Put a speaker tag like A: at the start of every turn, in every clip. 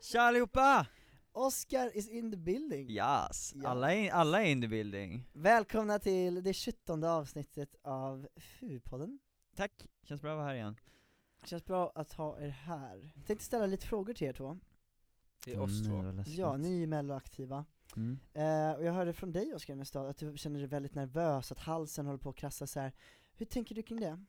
A: Tja allihopa!
B: Oscar is in the building!
A: Yes,
B: Ja.
A: Alla, är, alla är in the building.
B: Välkomna till det 17 avsnittet av FU-podden.
A: Tack, känns bra att vara här igen.
B: Känns bra att ha er här. Jag tänkte ställa lite frågor till er två.
C: Det är oss två.
B: Ja, ni är ju melloaktiva.
A: Mm.
B: Eh, och jag hörde från dig Oscar Mestad att du känner dig väldigt nervös, att halsen håller på att krassa så här. Hur tänker du kring det?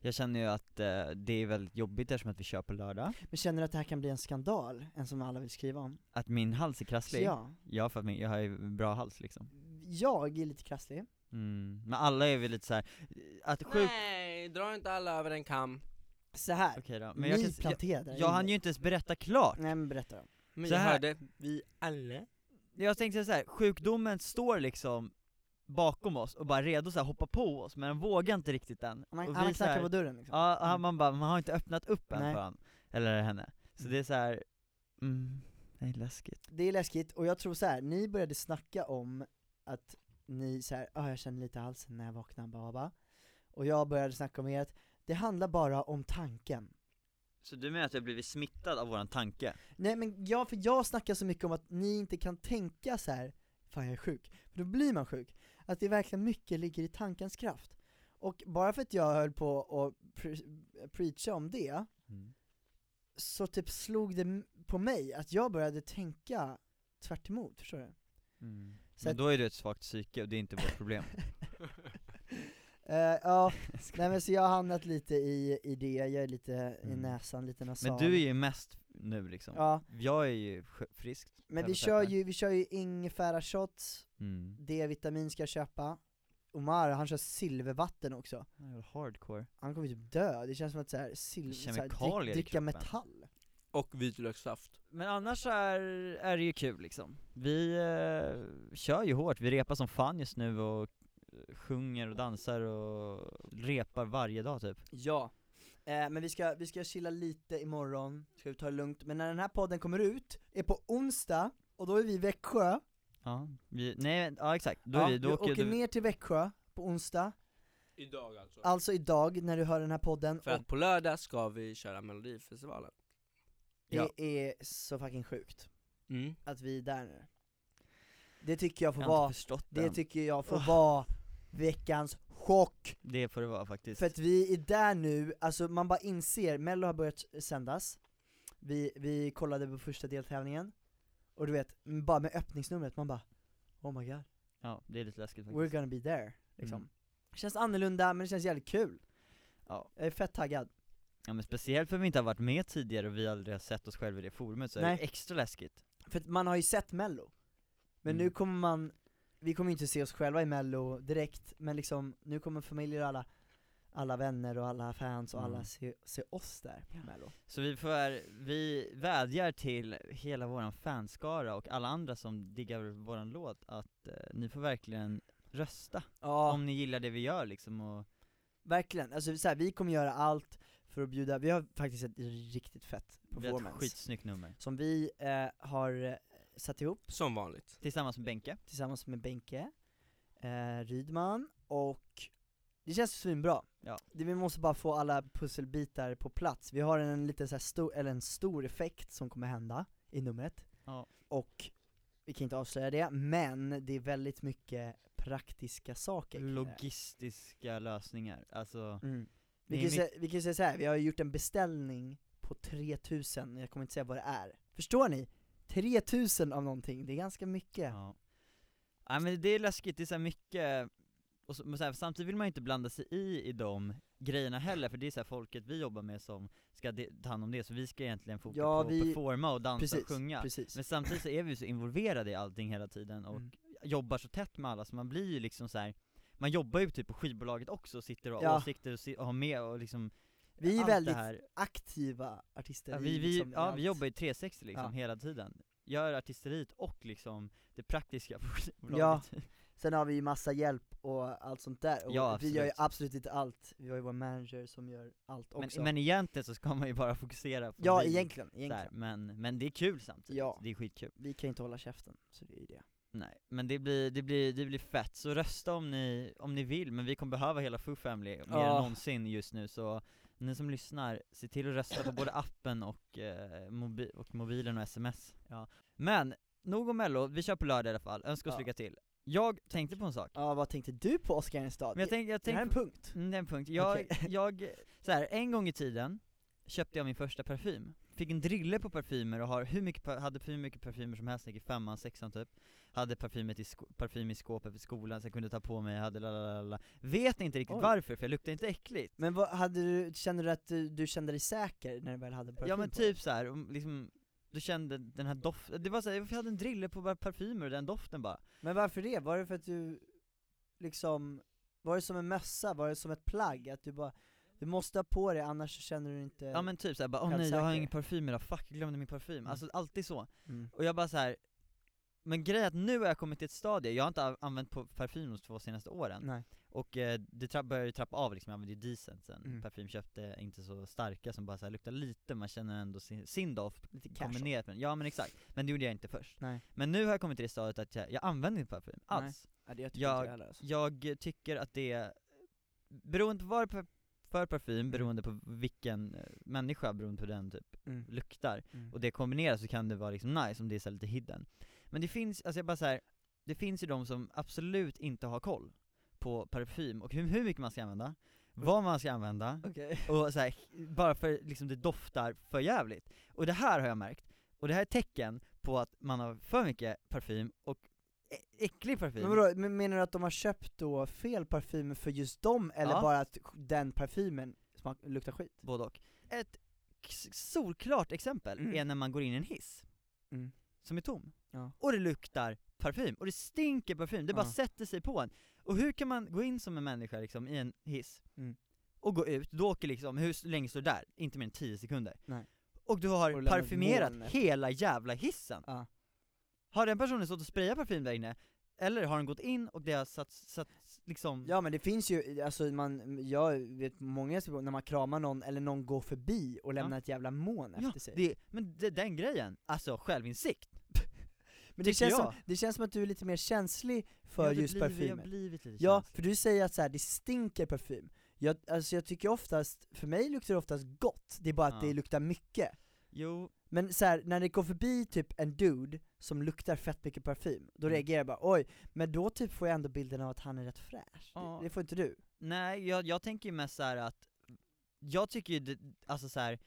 A: Jag känner ju att eh, det är väldigt jobbigt eftersom att vi kör på lördag,
B: Men känner du att det här kan bli en skandal? En som alla vill skriva om?
A: att min hals är
B: Så
A: krasslig.
B: ja,
A: Ja, för att min, jag har ju bra hals liksom.
B: jag är lite krasslig.
A: Mm. Men alla är väl lite så här eh, att sjuk...
C: Nej, dra inte alla över en kam.
B: Så här.
A: Okej då, men
B: Men
A: jag,
B: jag
A: kan,
B: ni
A: s- jag,
B: planterade
A: jag hann ju inte ens berätta klart.
B: Nej men berätta då.
C: Men
A: Så
C: jag
A: här.
C: hörde, vi alla.
A: Jag tänkte så här, sjukdomen står liksom bakom oss och bara redo så här, hoppa på oss, men den vågar inte riktigt än.
B: Man,
A: Och
B: alla
A: vi så här-
B: knackar på dörren liksom.
A: Ja, han-
B: Mm.
A: man bara, man har inte öppnat upp än
B: Nej.
A: för han, eller henne. Så det är så här, mm, det är läskigt.
B: Det är läskigt, och jag tror så här. ni började snacka om att ni så här, ah, jag känner lite i halsen när jag vaknar, bla, bla, bla. Och jag började snacka om er att det handlar bara om tanken.
A: Så du menar att jag blivit smittad av våran tanke?
B: Nej men jag, för jag snackar så mycket om att ni inte kan tänka så här. fan jag är sjuk, för då blir man sjuk. Att det verkligen mycket ligger i tankens kraft. Och bara för att jag höll på att pre- preacha om det,
A: Mm.
B: så typ slog det m- på mig att jag började tänka tvärt emot, förstår du? Mm. Så
A: Men
B: att,
A: då är du ett svagt psyke och det är inte vårt problem.
B: eh, ja,
A: Jag skojar.
B: nej men så jag har hamnat lite i, i det, jag är lite i
A: Mm.
B: näsan, lite nasal
A: men du är ju mest nu liksom.
B: Ja,
A: Jag är ju sj- frisk.
B: men vi
A: Tävlar
B: kör
A: tävlar.
B: ju, vi kör ju ingefärashots,
A: Mm.
B: D-vitamin ska jag köpa Omar, han kör silvervatten också
A: Jag är hardcore.
B: Han kommer typ dö, det känns som att såhär, sil- såhär,
A: Kemikalier i
B: drick, dricka
A: kroppen.
B: metall
C: Och vitlökssaft.
A: Men annars är, är det ju kul liksom. Vi eh, kör ju hårt, vi repar som fan just nu och eh, sjunger och dansar och repar varje dag typ.
B: Ja, eh, men vi ska, vi ska chilla lite imorgon, ska vi ta det lugnt, men när den här podden kommer ut, är på onsdag, och då är vi i Växjö
A: Ja, vi, nej, ja exakt, då,
B: ja,
A: är vi, då
B: Du
A: åker,
B: åker
A: du,
B: ner till Växjö på onsdag,
C: Idag alltså.
B: alltså idag när du hör den här podden,
C: För
B: och
C: att på lördag ska vi köra melodifestivalen.
A: ja.
B: det är så fucking sjukt
C: Mm.
B: att vi är där nu Det tycker jag får
A: jag har
B: vara,
A: inte förstått
B: det
A: det,
B: tycker jag får vara veckans chock!
A: det får det vara faktiskt.
B: För att vi är där nu, alltså man bara inser, mello har börjat sändas, vi, vi kollade på första deltävlingen, och du vet, m- bara med öppningsnumret, man bara Oh my god,
A: Ja, det är lite läskigt
B: we're
A: faktiskt.
B: gonna be there, liksom
A: Mm.
B: Känns annorlunda men det känns jävligt kul,
A: Ja.
B: jag är fett taggad
A: ja, men speciellt för att vi inte har varit med tidigare och vi aldrig har sett oss själva i det forumet så är
B: Nej.
A: det extra läskigt.
B: För att man har ju sett mello, men
A: Mm.
B: nu kommer man, vi kommer ju inte se oss själva i mello direkt, men liksom nu kommer familjer och alla, alla vänner och alla fans och
A: Mm.
B: alla se, se oss där på mello
A: Så vi får, vi vädjar till hela våran fanskara och alla andra som diggar våran låt att eh, ni får verkligen rösta
B: Ja,
A: om ni gillar det vi gör liksom och
B: verkligen, alltså så här, vi kommer göra allt för att bjuda, vi har faktiskt ett riktigt fett
A: vi har ett
B: performance
A: skitsnyggt nummer.
B: Som vi eh, har eh, satt ihop
C: Som vanligt.
A: Tillsammans med Benke.
B: tillsammans med Benke, eh, Rydman och det känns svinbra.
A: Ja.
B: Det, vi måste bara få alla pusselbitar på plats. Vi har en liten så här stor, eller en stor effekt som kommer hända i numret.
A: Ja.
B: Och vi kan inte avslöja det, men det är väldigt mycket praktiska saker. kring det.
A: Logistiska lösningar, alltså
B: Mm.
A: Det
B: Vi,
A: är
B: kan ju
A: mycket-
B: säga, vi kan ju säga så här, vi har ju gjort en beställning på 3000, jag kommer inte säga vad det är. Förstår ni? 3000 av någonting, det är ganska mycket.
A: Ja. Nej men det är läskigt, det är så här mycket, och så, men så här, samtidigt vill man ju inte blanda sig i i de grejerna heller, för det är så här folket vi jobbar med som ska de, ta hand om det, så vi ska egentligen fokusera
B: Ja,
A: på
B: vi-
A: att performa och dansa
B: precis,
A: och sjunga.
B: precis.
A: Men samtidigt så är vi ju så involverade i allting hela tiden och
B: Mm.
A: jobbar så tätt med alla, så man blir ju liksom så här. Man jobbar ju typ på skivbolaget också, och sitter och har
B: Ja.
A: åsikter och, si- och har med och liksom
B: Vi är
A: allt
B: väldigt
A: det här.
B: aktiva artister
A: Ja,
B: i
A: vi, vi,
B: liksom
A: ja,
B: allt.
A: vi jobbar ju 360 liksom
B: Ja.
A: hela tiden, gör artisteriet och liksom det praktiska på skivbolaget
B: Ja, Sen har vi ju massa hjälp och allt sånt där, och
A: Ja,
B: vi gör ju
A: absolut.
B: absolut inte allt, vi har ju vår manager som gör allt
A: Men,
B: också
A: men egentligen så ska man ju bara fokusera på
B: Ja
A: vi,
B: egentligen,
A: Där,
B: egentligen.
A: men, men det är kul samtidigt,
B: Ja.
A: det är skitkul
B: Vi kan ju inte hålla käften, så det är ju det
A: Nej, men det blir, det blir, det blir fett, så rösta om ni, om ni vill, men vi kommer behöva hela Foo Family mer
C: Ja.
A: än någonsin just nu så ni som lyssnar, se till att rösta på både appen och, eh, mobi- och mobilen och sms ja. Men, nog om mello, vi kör på lördag i alla fall, önska oss
B: Ja.
A: lycka till Jag tänkte på en sak,
B: Ja, vad tänkte du på Oscar Enestad?
A: men jag tänkte, jag
B: det här är en
A: tänkte
B: punkt.
A: Mm, det är en punkt. Jag,
B: Okej.
A: jag, så här, en gång i tiden köpte jag min första parfym. Fick en drille på parfymer och har hur mycket, par- hade hur mycket parfymer som helst, gick i femman, sexan typ. Hade parfymet i sko- parfym i skåpet i skolan så jag kunde ta på mig, hade lalalala. Vet inte riktigt
B: Oj.
A: varför för jag luktar inte äckligt.
B: Men vad, hade du, kände du att du, du kände dig säker när du väl hade parfym
A: Ja men
B: på
A: typ så här, om liksom, du kände den här doften, det var så här, jag hade en drille på bara parfymer och den doften bara.
B: Men varför det? Var det för att du liksom, var det som en mössa, var det som ett plagg? Att du bara, du måste ha på det annars så känner du inte
A: Ja men typ såhär bara, åh
B: Helt
A: nej jag har
B: säker.
A: ingen parfym idag, fuck jag glömde min parfym.
B: Mm.
A: Alltså alltid så.
B: mm.
A: Och jag bara så här. men grejen är att nu har jag kommit till ett stadie, jag har inte a- använt på- parfym de två senaste åren,
B: Nej.
A: och eh, det tra- börjar ju trappa av liksom, jag använder ju decent sen,
B: Mm.
A: parfym köpte inte så starka som bara så här luktar lite, man känner ändå sin, sin doft
B: Lite cash.
A: kombinerat med Ja men exakt, men det gjorde jag inte först.
B: Nej.
A: Men nu har jag kommit till det stadiet att jag, jag använder inte parfym
B: Nej.
A: alls.
B: Ja, det jag
A: tycker inte jag
B: heller alltså.
A: Jag tycker att det, beroende på vad det är för- för parfym, beroende på vilken eh, människa, beroende på hur den typ
B: mm.
A: luktar,
B: Mm.
A: och det kombineras så kan det vara liksom nice om det är så här lite hidden. Men det finns, alltså jag bara så här, det finns ju de som absolut inte har koll på parfym och hur, hur mycket man ska använda, vad man ska använda,
B: Mm. Okej,
A: och så här, bara för liksom det doftar för jävligt. Och det här har jag märkt, och det här är ett tecken på att man har för mycket parfym och ä- äcklig parfym.
B: men vadå, men menar du att de har köpt då fel parfym för just dem, eller
A: Ja.
B: bara att den parfymen smak, luktar skit?
A: Både och. Ett k- solklart exempel
B: Mm.
A: är när man går in i en hiss,
B: Mm.
A: som är tom,
B: Ja.
A: och det luktar parfym, och det stinker parfym, det bara
B: Ja.
A: sätter sig på en. Och hur kan man gå in som en människa liksom, i en hiss,
B: Mm.
A: och gå ut, du åker liksom, hur s- länge står du där? Inte mer än 10 sekunder.
B: Nej.
A: Och du har
B: Och lämnar
A: parfymerat
B: molnet.
A: hela jävla hissen.
B: Ja.
A: Har den personen stått och sprayat parfym där inne, eller har den gått in och det har satt, satt liksom
B: Ja men det finns ju, alltså man, jag vet många situationer när man kramar någon eller någon går förbi och lämnar ett jävla moln
A: Ja,
B: efter sig
A: det, men det, den grejen, alltså självinsikt.
B: Men det
A: tycker
B: känns, som,
A: jag.
B: det känns som att du är lite mer känslig
A: Jag
B: för
A: har blivit-
B: just
A: Jag
B: parfymen
A: har blivit lite
B: Ja,
A: känslig.
B: för du säger att så här, det stinker parfym. Jag, alltså jag tycker oftast, för mig luktar det oftast gott, det är bara att
A: Ja.
B: det luktar mycket.
A: Jo,
B: Men så här, när det går förbi typ en dude som luktar fett mycket parfym, då
A: Mm.
B: reagerar jag bara oj, men då typ får jag ändå bilden av att han är rätt fräsch.
A: Ja.
B: Det, det får inte du.
A: nej jag, jag tänker ju mest så här att, jag tycker ju det, alltså så här.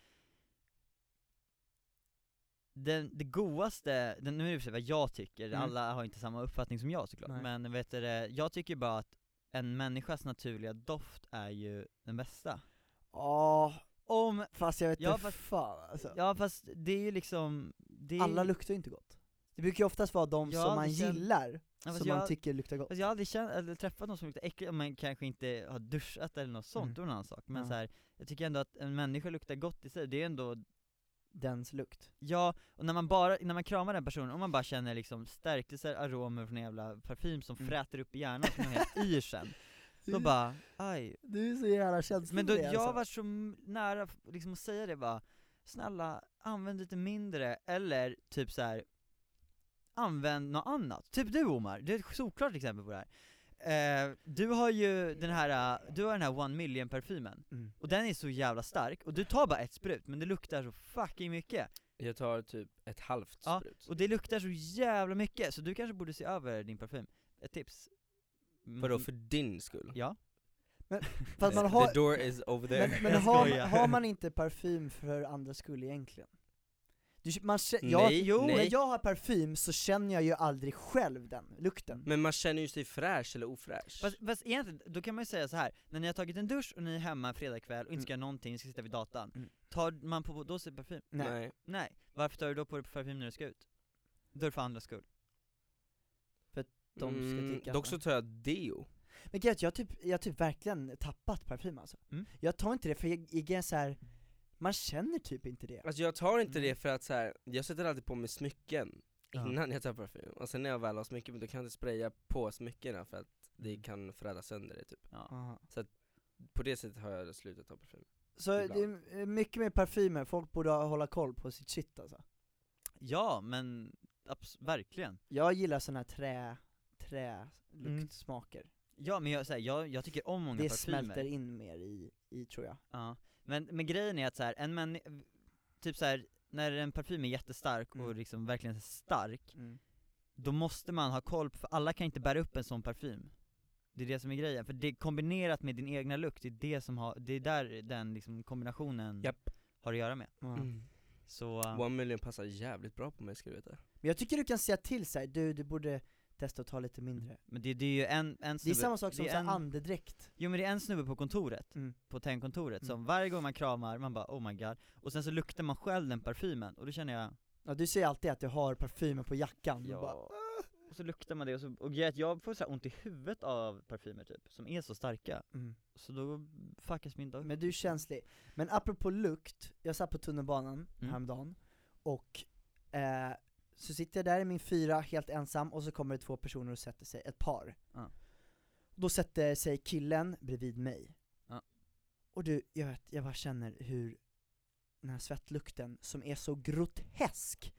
A: Den, det godaste, den, nu är det i och för sig vad jag tycker,
B: Mm.
A: alla har inte samma uppfattning som jag såklart,
B: Nej.
A: men vet du det, jag tycker bara att en människas naturliga doft är ju den bästa.
B: Ja,
A: Om,
B: fast jag vet
A: Ja,
B: inte
A: fast-
B: fan alltså.
A: ja fast det är ju liksom, det är,
B: Alla luktar ju inte gott. Det brukar ju oftast vara de
A: Ja,
B: som
A: det
B: man
A: kän-
B: gillar,
A: Ja, fast
B: som man
A: jag-
B: tycker luktar gott.
A: Fast Alltså jag har aldrig känt, eller träffat någon som luktar äckligt, om man kanske inte har duschat eller något sånt,
B: Mm.
A: det var en annan sak. Men
B: Ja.
A: så här, jag tycker ändå att en människa luktar gott i sig, det är ändå,
B: Dens lukt.
A: ja, och när man bara, när man kramar den personen, om man bara känner liksom stärkelser, aromer från en jävla parfym som
B: Mm.
A: fräter upp i hjärnan som man helt yr sen, då bara, aj.
B: Du är så jävla känslig
A: Men då,
B: alltså.
A: jag var så m- nära f- liksom att säga det bara, snälla, använd lite mindre, eller typ så här. använd något annat. Typ du Omar, det är ett solklart exempel på det här. Eh, du har ju den här, eh, du har den här one million parfymen,
B: Mm.
A: och den är så jävla stark, och du tar bara ett sprut, men det luktar så fucking mycket.
C: Jag tar typ ett halvt
A: Ja,
C: sprut.
A: Och det luktar så jävla mycket, så du kanske borde se över din parfym. Ett tips. Mm,
C: Vadå, för din skull?
A: Ja.
B: Fast man
C: The-
B: har,
C: The door is over there.
B: Men, men
A: Jag
B: har,
A: skojar.
B: har man inte parfym för andra skull egentligen? Du, kö- man, kä- jag,
C: Nej,
B: jo,
C: nej.
B: när jag har parfym så känner jag ju aldrig själv den lukten.
C: Men man känner ju sig fräsch eller ofräsch.
A: Fast, fast egentligen, då kan man ju säga så här. när ni har tagit en dusch och ni är hemma en fredagkväll och inte ska göra någonting, ni ska sitta vid datan,
B: Mm.
A: tar man på då sig parfym?
B: nej.
A: Nej, varför tar du då på dig parfym när du ska ut? Då är det för andras skull.
B: de ska dricka
C: Mm, Dock
B: den.
C: så tar jag deo.
B: Men grejen är att jag har typ, jag har typ verkligen tappat parfym alltså.
A: Mm.
B: Jag tar inte det för jag, jag är så här. man känner typ inte det.
C: Alltså jag tar inte
A: Mm.
C: det för att så här, jag sätter alltid på mig smycken
A: Ja.
C: innan jag tar parfym. Och sen när jag väl har smycken, då kan jag inte spraya på smyckena för att det kan fräda sönder det typ.
B: Aha.
C: På det sättet har jag slutat ta parfym.
B: Så det är eh, mycket med parfymer, folk borde ha- hålla koll på sitt shit alltså.
A: Ja, men abs- verkligen.
B: Jag gillar såna här trä, träluktsmaker.
A: Ja men jag, så här, jag, jag tycker om många
B: Det
A: parfymer
B: smälter in mer i, i tror jag.
A: Ja, men, men grejen är att så här, en män, typ så här, när en parfym är jättestark och
B: Mm.
A: liksom verkligen stark, då måste man ha koll på, för alla kan inte bära upp en sån parfym Det är det som är grejen, för det är kombinerat med din egna lukt, det är det som har, det är där den liksom kombinationen
C: Japp.
A: har att göra med
B: Ja.
C: Mm.
A: Så,
C: One million passar jävligt bra på mig ska du veta.
B: Men jag tycker du kan säga till såhär, du, du borde testa att ta lite mindre.
A: um, men det, det är ju en, en
B: Det är
A: snubbe,
B: samma sak som
A: är
B: så här
A: en-
B: andedräkt.
A: Jo men det är en snubbe på kontoret,
B: Mm.
A: på tennkontoret, som
B: Mm.
A: varje gång man kramar, man bara oh my god, och sen så luktar man själv den parfymen, och då känner jag
B: Ja, du säger alltid att du har parfymen på jackan. Ja.
A: Ja.
B: Bara, "Ah!"
A: Och så luktar man det och så, och grejen är att jag får så här ont i huvudet av parfymer typ, som är så starka
B: mm.
A: Så då fuckas min dag
B: Men du är känslig. Men apropå lukt, jag satt på tunnelbanan
A: Mm.
B: häromdagen och eh, så sitter jag där i min fyra helt ensam och så kommer det två personer och sätter sig, ett par.
A: Ja.
B: Då sätter sig killen bredvid mig.
A: Ja.
B: Och du, jag vet, jag bara känner hur den här svettlukten som är så grotesk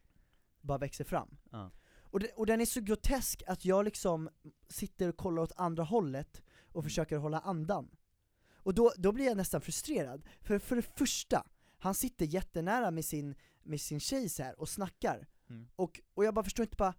B: bara växer fram.
A: Ja.
B: Och, det, och den är så grotesk att jag liksom sitter och kollar åt andra hållet och försöker hålla andan. Och då, då blir jag nästan frustrerad, för, för det första, han sitter jättenära med sin, med sin tjej så här och snackar,
A: Mm.
B: och, och jag bara förstår inte bara,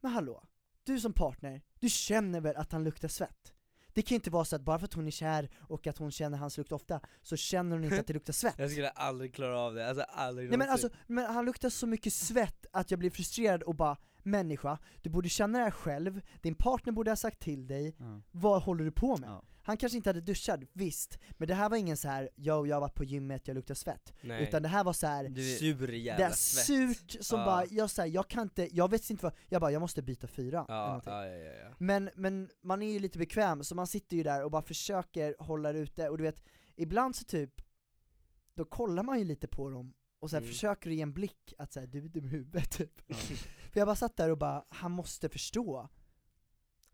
B: men hallå, du som partner, du känner väl att han luktar svett? Det kan ju inte vara så att bara för att hon är kär och att hon känner hans lukt ofta, så känner hon inte att det luktar svett.
C: Jag skulle aldrig klara av det, alltså aldrig
B: Nej men alltså,
C: någonsin.
B: men han luktar så mycket svett att jag blir frustrerad och bara Människa, du borde känna det här själv, din partner borde ha sagt till dig,
A: ja.
B: vad håller du på med?
A: Ja.
B: Han kanske inte hade duschat, visst, men det här var ingen så här, jag jag har varit på gymmet, jag luktar svett.
C: Nej.
B: Utan det här var så här
A: Du är-
C: sur
B: det
C: jävla
B: är
C: svett.
B: surt som
C: Ja.
B: bara, jag säger jag kan inte, jag vet inte vad, jag bara jag måste byta fyra. eller
C: Ja,
B: någonting.
C: ja, ja, ja, ja.
B: Men, men man är ju lite bekväm, så man sitter ju där och bara försöker hålla det ute, och du vet, ibland så typ, då kollar man ju lite på dem och så här
C: Mm.
B: försöker ge en blick att säga du är dum i huvudet typ.
A: Ja.
B: För jag bara satt där och bara, han måste förstå.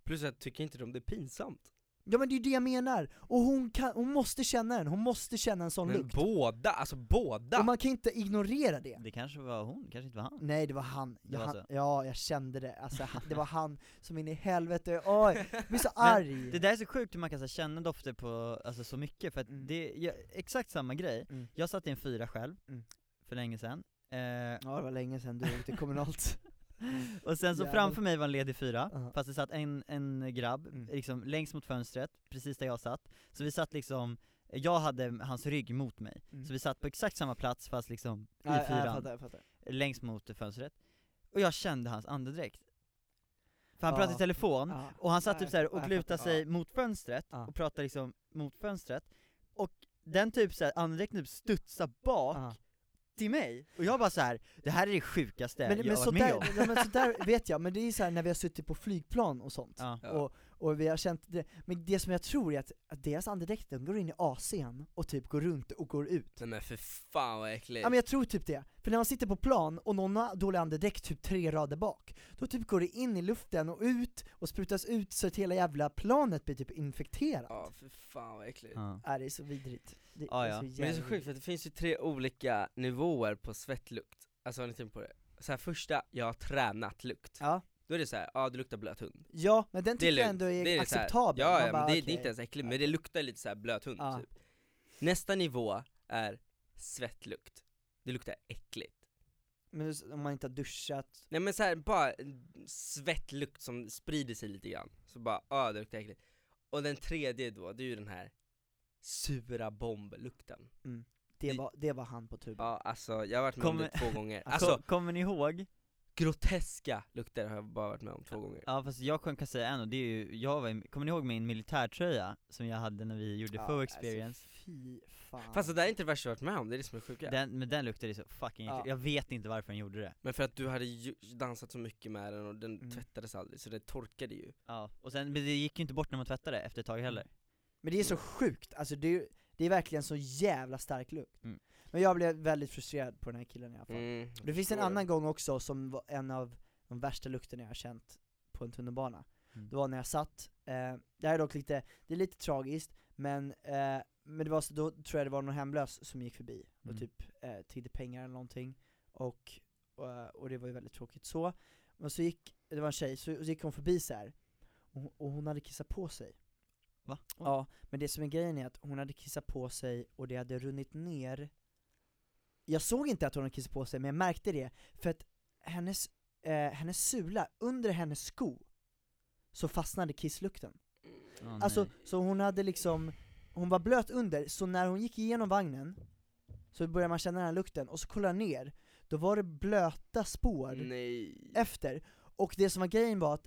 C: Plus jag tycker inte de det är pinsamt.
B: Ja men det är ju det jag menar! Och hon, kan, hon måste känna den, hon måste känna en sån
C: Men
B: lukt.
C: båda, alltså båda!
B: Och man kan inte ignorera det.
A: Det kanske var hon, kanske inte var han
B: Nej det var han,
A: Det
B: jag,
A: var alltså-
B: han
A: så.
B: ja jag kände det, alltså, han, det var han som in i helvete, oj, jag blir så arg!
A: Det där är så sjukt hur man kan så här, känna dofter på, alltså så mycket, för att
B: Mm.
A: det, jag, exakt samma grej
B: Mm.
A: Jag satt i en fyra själv,
B: Mm.
A: för länge sedan eh,
B: Ja det var länge sedan du åkte kommunalt.
A: Och sen så
B: Jävlar.
A: framför mig var en ledig fyra,
B: Ja.
A: fast det satt en, en grabb,
B: Mm.
A: liksom längst mot fönstret, precis där jag satt Så vi satt liksom, jag hade hans rygg mot mig,
B: Mm.
A: så vi satt på exakt samma plats fast liksom i
B: Ja, ja, jag
A: fyran
B: fattar, jag fattar.
A: längst mot fönstret, och jag kände hans andedräkt. För han
B: Ja.
A: pratade i telefon,
B: Ja.
A: och han satt
B: Ja,
A: typ
B: jag
A: såhär
B: fattar. Ja,
A: och
B: jag
A: lutade
B: fattar.
A: sig mot fönstret,
B: Ja.
A: och pratade liksom mot fönstret, och den typ såhär, andedräkten typ studsade bak
B: Ja.
A: till mig, och jag bara så här: det här är det sjukaste
B: Men,
A: jag
B: men,
A: har varit med om.
B: sådär, ja, men sådär vet jag, men det är så här när vi har suttit på flygplan och sånt,
A: Ja.
C: Ja.
B: och, och vi har känt det, men det som jag tror är att, att deras andedräkt, de går in i AC'n och typ går runt och går ut.
C: Nej men för fan vad äckligt.
B: Ja men jag tror typ det, för när man sitter på plan och någon har dålig andedräkt typ tre rader bak, då typ går det in i luften och ut och sprutas ut så att hela jävla planet blir typ infekterat.
C: Ja för fan vad äckligt.
A: Ja.
B: Ja. det är så vidrigt. Det
A: Ja,
B: är
A: ja.
B: så
A: Men
C: Men det är så
B: jävla
C: sjukt för att det finns ju tre olika nivåer på svettlukt. Alltså har ni tänkt på det? Så här, första, jag har tränat lukt.
B: Ja.
C: Då är det så här, ja du luktar blöt hund.
B: Ja, men den
C: Det är
B: tycker jag
C: lugnt.
B: ändå är,
C: det så här-
B: acceptabel.
C: Ja,
B: Man
C: ja
B: bara,
C: men det, det
B: okej.
C: är inte ens äckligt, men det luktar lite så här blöt hund
B: Ja.
C: typ. Nästa nivå är svettlukt. Det luktar äckligt.
B: Men s- om man inte har duschat,
C: Nej men så här, bara en svettlukt som sprider sig lite grann. Så bara, ja det luktar äckligt. Och den tredje då, det är ju den här sura bomblukten.
B: det
C: Det-
B: var, det var han på tuben.
C: Ja alltså jag har varit med om
A: Kommer-
C: det två gånger.
A: Kom,
C: Alltså
A: kommer ni ihåg?
C: groteska lukter har jag bara varit med om två gånger.
A: Ja fast jag kan kan säga en och det är ju, jag var, i- kommer ni ihåg min militärtröja som jag hade när vi gjorde
B: Ja,
A: FO
B: alltså,
A: experience?
B: fy fan.
C: Fast det där är inte det värsta jag varit med om, det är det som är sjuka.
A: Den, men den luktade så fucking
B: Ja.
A: äckligt, jag vet inte varför den gjorde det
C: Men för att du hade ju dansat så mycket med den och den
B: Mm.
C: tvättades aldrig så det torkade ju.
A: Ja, och sen, men det gick ju inte bort när man tvättade efter ett tag heller
B: Men det är så sjukt, alltså det är, det är verkligen så jävla stark lukt.
A: Mm.
B: Men jag blev väldigt frustrerad på den här killen i alla fall.
C: Mm,
B: Det finns en
C: förstår
B: annan gång också som var en av de värsta lukterna jag har känt på en tunnelbana.
A: Mm.
B: Det var när jag satt, eh, det här är dock lite, det är lite tragiskt, men, eh, men det var så, då tror jag det var någon hemlös som gick förbi och
A: Mm.
B: typ eh, tiggde pengar eller någonting, eh, och, och, och det var ju väldigt tråkigt så. Men så gick, det var en tjej, så, så gick hon förbi så här. och, hon- och hon hade kissat på sig.
A: Va?
B: Ja, men det som är grejen är att hon hade kissat på sig och det hade runnit ner Jag såg inte att hon hade kissat på sig men jag märkte det, för att hennes, eh, hennes sula, under hennes sko, så fastnade kisslukten.
A: Åh,
B: Alltså,
A: nej.
B: så hon hade liksom, hon var blöt under, så när hon gick igenom vagnen så började man känna den här lukten, och så kollade jag ner, då var det blöta spår
C: Nej.
B: efter, och det som var grejen var att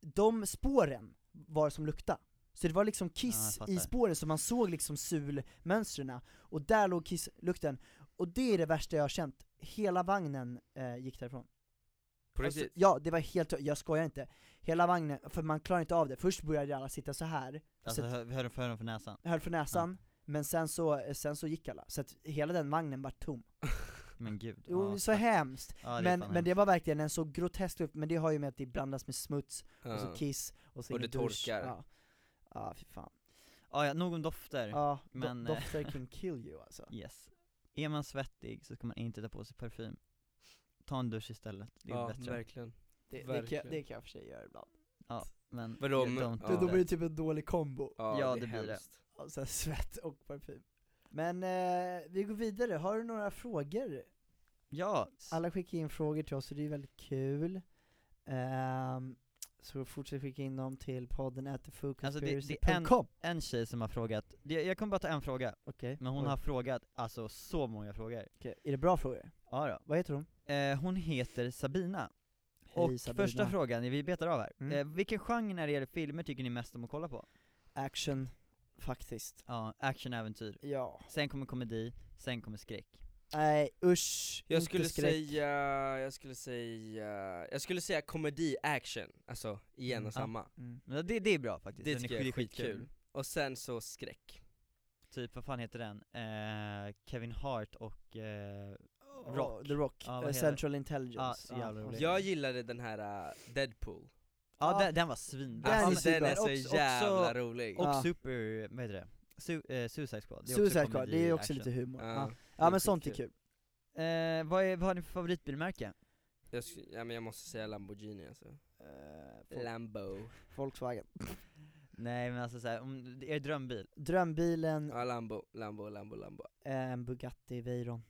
B: de spåren var som lukta. Så det var liksom
A: Ja, jag
B: kiss
A: fattar.
B: i spåren, så man såg liksom sulmönstren, och där låg kisslukten, och det är det värsta jag har känt, hela vagnen eh, gick därifrån.
C: På
B: Alltså,
C: riktigt?
B: ja, det var helt, jag skojar inte. Hela vagnen, för man klarar inte av det, först började alla sitta så här
A: Alltså
B: så att-
A: hör, hör, hör dem för näsan.
B: höll för näsan, men sen så, eh, sen så gick alla, så att hela den vagnen var tom.
A: Men gud.
B: Jo,
A: ja,
B: så
A: fuck.
B: hemskt.
A: Ja, det är
B: men,
A: fan
B: men det var verkligen en så grotesk lukt, men det har ju med att det blandas med smuts, och så
C: Ja.
B: kiss, och så
C: Och
B: ingen
C: det
B: dusch.
C: torkar.
B: Ja, ja fy fan.
A: Ja, ja, nog om dofter.
B: Ja,
A: Men,
B: men,
A: eh,
B: dofter can kill you alltså.
A: Yes. Är man svettig så ska man inte ta på sig parfym. Ta en dusch istället, det är
C: ja,
A: bättre.
C: verkligen.
B: Det, det, kan, jag-
C: verkligen.
B: det kan jag för sig göra ibland.
A: Men
C: Vadå,
A: you
C: men-
A: don't
C: ja.
A: do
B: Då- Då
A: that.
B: blir det typ en dålig kombo,
A: Ja,
C: är
A: det blir det.
C: hemskt.
B: och sen svett och parfym. Men eh, vi går vidare, har du några frågor
A: Ja, s-
B: Alla skickar in frågor till oss och det är väldigt kul. Ehm, så fortsätt skicka in dem till podden at
A: Alltså, det- det är en- en tjej som har frågat, det- jag kommer bara ta en fråga,
B: Okej,
A: men hon
B: oj,
A: har frågat alltså så många frågor.
B: okej. Är det bra frågor?
A: Ja då.
B: Vad heter hon?
A: Eh, hon heter Sabina,
B: Hej,
A: och första frågan, vi betar av här.
B: Mm.
A: Eh, vilken genre när det gäller filmer tycker ni mest om att kolla på?
B: Action, faktiskt.
A: Ja, actionäventyr.
B: Ja.
A: Sen kommer komedi, sen kommer skräck.
C: Mm.
B: Nej usch,
C: Jag
B: inte
C: skulle
B: skräck.
C: säga, jag skulle säga, jag skulle säga komedi, action, alltså igen
B: Mm.
C: och samma.
B: Mm.
A: Men det, det är bra faktiskt,
C: Det
A: Den är
C: tycker jag är
A: skit-
C: skitkul. Och sen så skräck.
A: Typ, vad fan heter den? Eh, Kevin Hart och, eh,
B: Ja, The Rock,
A: Ja, vad
B: Eh,
A: heter
B: Central Intelligence.
A: Ja, så jävla rolig.
C: Jag gillade den här äh, Deadpool.
A: ja
B: Ja.
A: den, den var svinbra.
B: Den är
C: alltså den är
B: superbra.
C: så
A: Också- också-
C: jävla rolig.
A: Och
B: Ja.
A: Super, vad heter det? Su- eh, Suicide Squad, det är
B: Suicide
A: också
B: Squad,
A: komedi,
B: det är också
A: action.
B: lite humor.
C: Ja.
B: Ja,
C: det
B: ja
C: är
B: men sånt är
C: skitkul.
B: kul.
A: Eh, vad, är, vad har ni för favoritbilmärke?
C: Jag, sk- ja, men jag måste säga Lamborghini alltså.
B: Eh, Vol-
C: Lambo.
B: Volkswagen.
A: Nej men alltså såhär, om, er drömbil?
B: Drömbilen,
C: Ja, Lambo, Lambo, Lambo, Lambo.
B: eh, en Bugatti Veyron.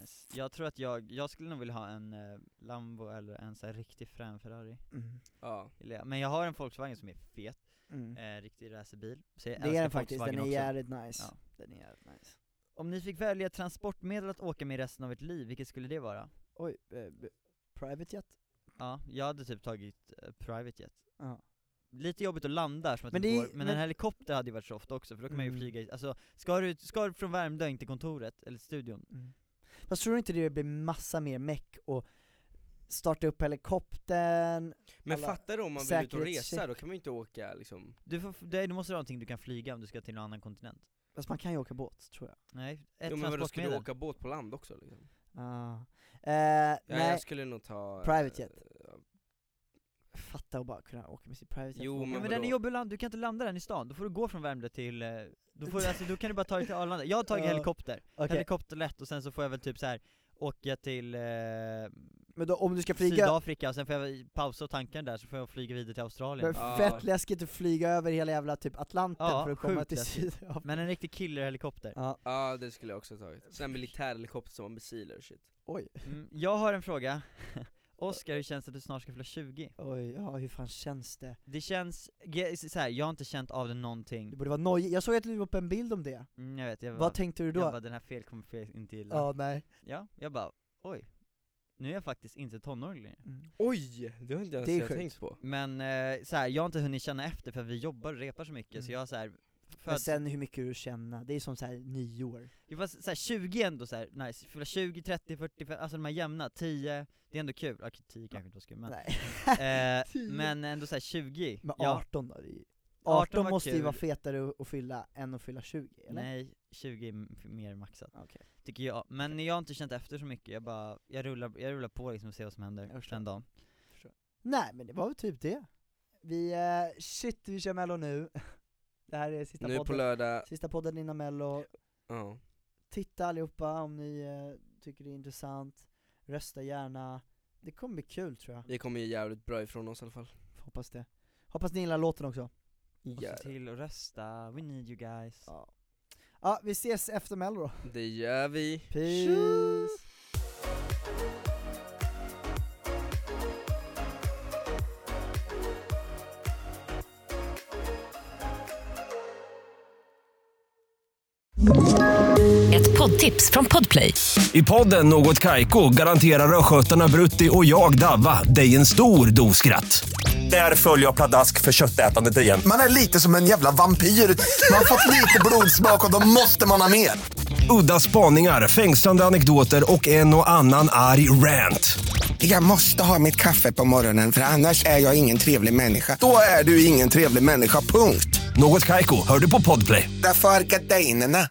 A: Nice. Jag tror att jag, jag skulle nog vilja ha en eh, Lambo eller en såhär riktig frän Ferrari.
B: Mm.
C: Ja.
A: Gillar jag. Men jag har en Volkswagen som är fet,
B: Mm.
A: eh, riktig racerbil. Så jag
B: Det
A: älskar
B: är den faktiskt, den
A: Volkswagen
B: är
A: också.
B: jävligt nice.
A: Ja.
B: Den är jävligt nice.
A: Om ni fick välja transportmedel att åka med resten av ert liv, vilket skulle det vara?
B: Oj, eh, b- private jet?
A: Ja, jag hade typ tagit eh, private jet.
B: Ja.
A: Lite jobbigt att landa eftersom att
B: Men
A: det
B: det
A: inte
B: är-
A: går, men,
B: men-
A: en helikopter hade ju varit så ofta också för då kan man ju
B: Mm.
A: flyga i, alltså ska du, ska du från Värmdö in till kontoret, eller studion?
B: Fast tror du inte det blir massa mer meck och starta upp helikoptern?
C: Men
B: Alla
C: fattar du om man vill ut och resa,
B: säkerhetscheck.
C: då kan man ju inte åka liksom.
A: Du, får, det, du måste ha någonting du kan flyga om du ska till en annan kontinent.
B: Fast man kan ju åka båt tror jag.
A: Nej, ett
C: Jo men vadå, ska
A: transportmedel.
C: du åka båt på land också liksom?
B: Ah. Eh,
C: Ja,
B: nej,
C: jag skulle nog ta... eh,
B: Private jet.
C: ja,
B: fatta att bara kunna åka med sin private jet.
C: Jo,
B: Åka-
C: men
A: Ja, men
C: vadå?
A: den är jobbig att landa, du kan inte landa den i stan, då får du gå från Värmdö till, eh, då, får, du- alltså, då kan du bara ta dig till Arlanda. Jag har tagit
B: Ja.
A: helikopter,
B: Okej,
A: helikopter lätt och sen så får jag väl typ så här åka till eh,
B: men då, om du ska flyga,
A: Sydafrika och sen får jag pausa och tanka den där så får jag flyga vidare till Australien.
B: men
C: Ja.
B: fett läskigt att flyga över hela jävla typ Atlanten
A: Ja,
B: för att komma
A: sjukt
B: till
A: läskigt.
B: Sydafrika.
A: Men en riktig killerhelikopter.
B: Ja,
C: Ja det skulle jag också ha tagit. Sån här militärhelikopter som har missiler och shit.
B: oj,
A: Mm, jag har en fråga. Oskar, hur känns det att du snart ska fylla 20?
B: oj, ja hur fan känns det?
A: Det känns, ge- så här, jag har inte känt av det någonting.
B: Du borde vara nojig, jag såg att du la upp en bild om det.
A: Mm, jag vet, jag bara,
B: Vad tänkte du då?
A: jag bara den här fel kommer fel inte gilla.
B: ja, nej.
A: Ja, jag bara, oj. Nu är jag faktiskt inte tonåring längre.
B: Mm.
C: Oj! Det har inte ens
B: Det är
C: jag
B: sjukt.
C: tänkt på.
A: Men eh, så här, jag har inte hunnit känna efter för vi jobbar och repar så mycket så
B: Mm.
A: jag har så här,
B: Men
A: föds,
B: sen hur mycket du känner, det är som såhär nyår.
A: jag var så här, 20 är ändå så här, nice, fylla 20, 30, 40, alltså de här jämna, 10, det är ändå kul, okej 10 kanske inte var så kul men,
B: Nej.
A: eh,
B: 10.
A: men ändå så här 20,
B: Men
A: ja,
B: 18 då? det är ju-
A: 18
B: 18
A: var
B: måste ju
A: kul.
B: vara fetare att- att fylla än att fylla 20, eller? Ah,
A: nej 20 är m- mer maxat.
B: Okej.
A: Tycker jag, men jag har inte känt efter så mycket, jag bara, jag rullar, jag rullar på liksom och ser vad som
B: Jag
A: händer
B: förstår.
A: den dagen
B: Nej men det var väl typ det. Vi, eh, shit vi kör mello nu. Det här är sista
C: Nu på
B: podden,
C: lördag,
B: sista podden innan mello.
C: ja.
B: Titta allihopa om ni eh, tycker det är intressant. Rösta gärna. Det kommer bli kul tror jag,
C: Vi kommer ju jävligt bra ifrån oss i alla fall.
B: hoppas det. Hoppas ni gillar låten också.
A: Och
C: Gör.
A: se till att rösta, we need you guys.
B: Ja. ja, vi ses efter Mello då.
C: Det gör vi.
B: Peace!
D: Ett poddtips från Podplay.
E: I podden Något Kaiko garanterar östgötarna Brutti och jag, Davva, dig en stor dos skratt. Där följer jag pladask för köttätandet igen.
F: Man är lite som en jävla vampyr. Man har fått lite blodsmak och då måste man ha mer.
E: Udda spaningar, fängslande anekdoter och en och annan arg rant.
F: Jag måste ha mitt kaffe på morgonen för annars är jag ingen trevlig människa. Då är du ingen trevlig människa, punkt.
E: Något Kaiko, hör du på Podplay.
F: Därför arkadeinerna.